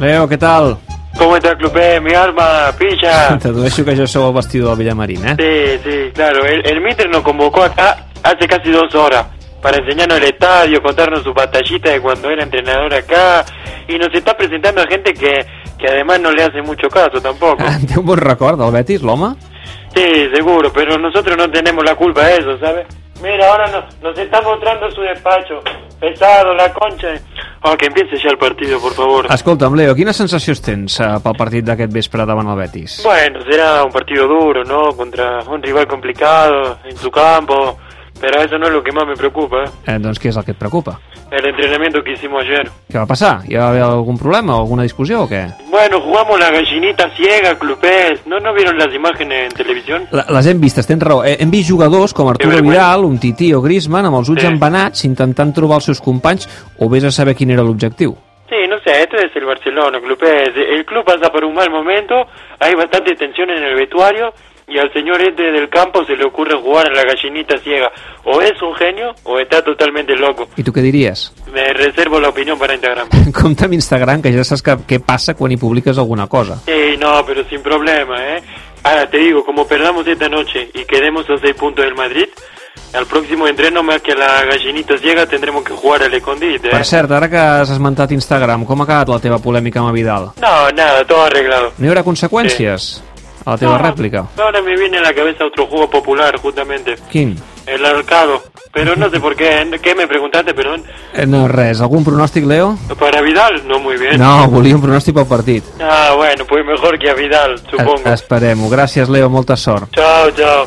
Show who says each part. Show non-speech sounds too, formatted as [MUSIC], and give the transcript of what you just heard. Speaker 1: Leo, què tal?
Speaker 2: ¿Cómo está Clupé? Mi arma,
Speaker 1: Ah. [LAUGHS]
Speaker 2: pilla.
Speaker 1: T'addueixo que jo sou el vestidor de Villamarina, eh?
Speaker 2: Sí, sí, claro. El, el Mitre nos convocó acá hace casi dos horas para enseñarnos el estadio, contarnos su batallita de cuando era entrenador acá. Y nos está presentando a gente que, que además no le hace mucho caso tampoco.
Speaker 1: Ah, Té un bon record del Betis, l'home?
Speaker 2: Sí, seguro, pero nosotros no tenemos la culpa de eso, ¿sabes? Mira, ahora nos, nos está mostrando su despacho. Pesado, la concha. Oh, que empiece ya el partido, por favor.
Speaker 1: Escolta'm, Leo, quines sensacions tens eh, pel partit d'aquest vespre davant el Betis?
Speaker 2: Bueno, será un partido duro, ¿no? Contra un rival complicado, en su campo. Pero eso no es lo que más me preocupa, ¿eh?
Speaker 1: Eh, doncs què és el que et preocupa?
Speaker 2: El entrenamiento que hicimos ayer.
Speaker 1: Què va passar? Hi va haver algun problema, alguna discussió o què?
Speaker 2: Bueno, jugamos la gallinita ciega, Clupés. ¿No, ¿No vieron las imágenes en televisión?
Speaker 1: La- Les hem vistes, tens raó. Eh, Hem vist jugadors com Arturo
Speaker 2: vergonya.
Speaker 1: Vidal, un tití o Griezmann amb els
Speaker 2: Sí.
Speaker 1: ulls embenats intentant trobar els seus companys o vés a saber quin era l'objectiu.
Speaker 2: Sí, no sé, esto es el Barcelona, Clupés. El club pasa por un mal momento, hay bastante tensión en el vestuario y al señor este del campo se le ocurre jugar a la gallinita ciega. O es un genio o está totalmente loco.
Speaker 1: I tu què diries?
Speaker 2: Me reservo la opinión para Instagram.
Speaker 1: Compte amb Instagram, que ja saps que, què passa quan hi publiques alguna cosa.
Speaker 2: Sí, no, pero sin problema, ¿eh? Ahora te digo, como perdamos esta noche y quedemos a seis puntos del Madrid, al próximo entreno más que a la gallinita ciega tendremos que jugar al escondite, ¿eh?
Speaker 1: Per cert, ara que has esmentat Instagram, com ha acabat la teva polèmica amb a Vidal?
Speaker 2: No, nada, todo arreglado.
Speaker 1: No hi haurà conseqüències a la teva
Speaker 2: No,
Speaker 1: rèplica?
Speaker 2: Ahora me viene a la cabeza otro juego popular, justamente,
Speaker 1: Quin?
Speaker 2: el arcado. Pero no sé por qué, ¿eh? ¿qué me preguntaste, perdón?
Speaker 1: Eh, No, res. Algun pronòstic, Leo?
Speaker 2: ¿Para Vidal? No, muy bien.
Speaker 1: No, volia un pronòstic pel partit.
Speaker 2: Ah, bueno, pues mejor que a Vidal,
Speaker 1: Es-
Speaker 2: supongo.
Speaker 1: Esperem-ho. Gràcies, Leo. Molta sort.
Speaker 2: Chao, chao.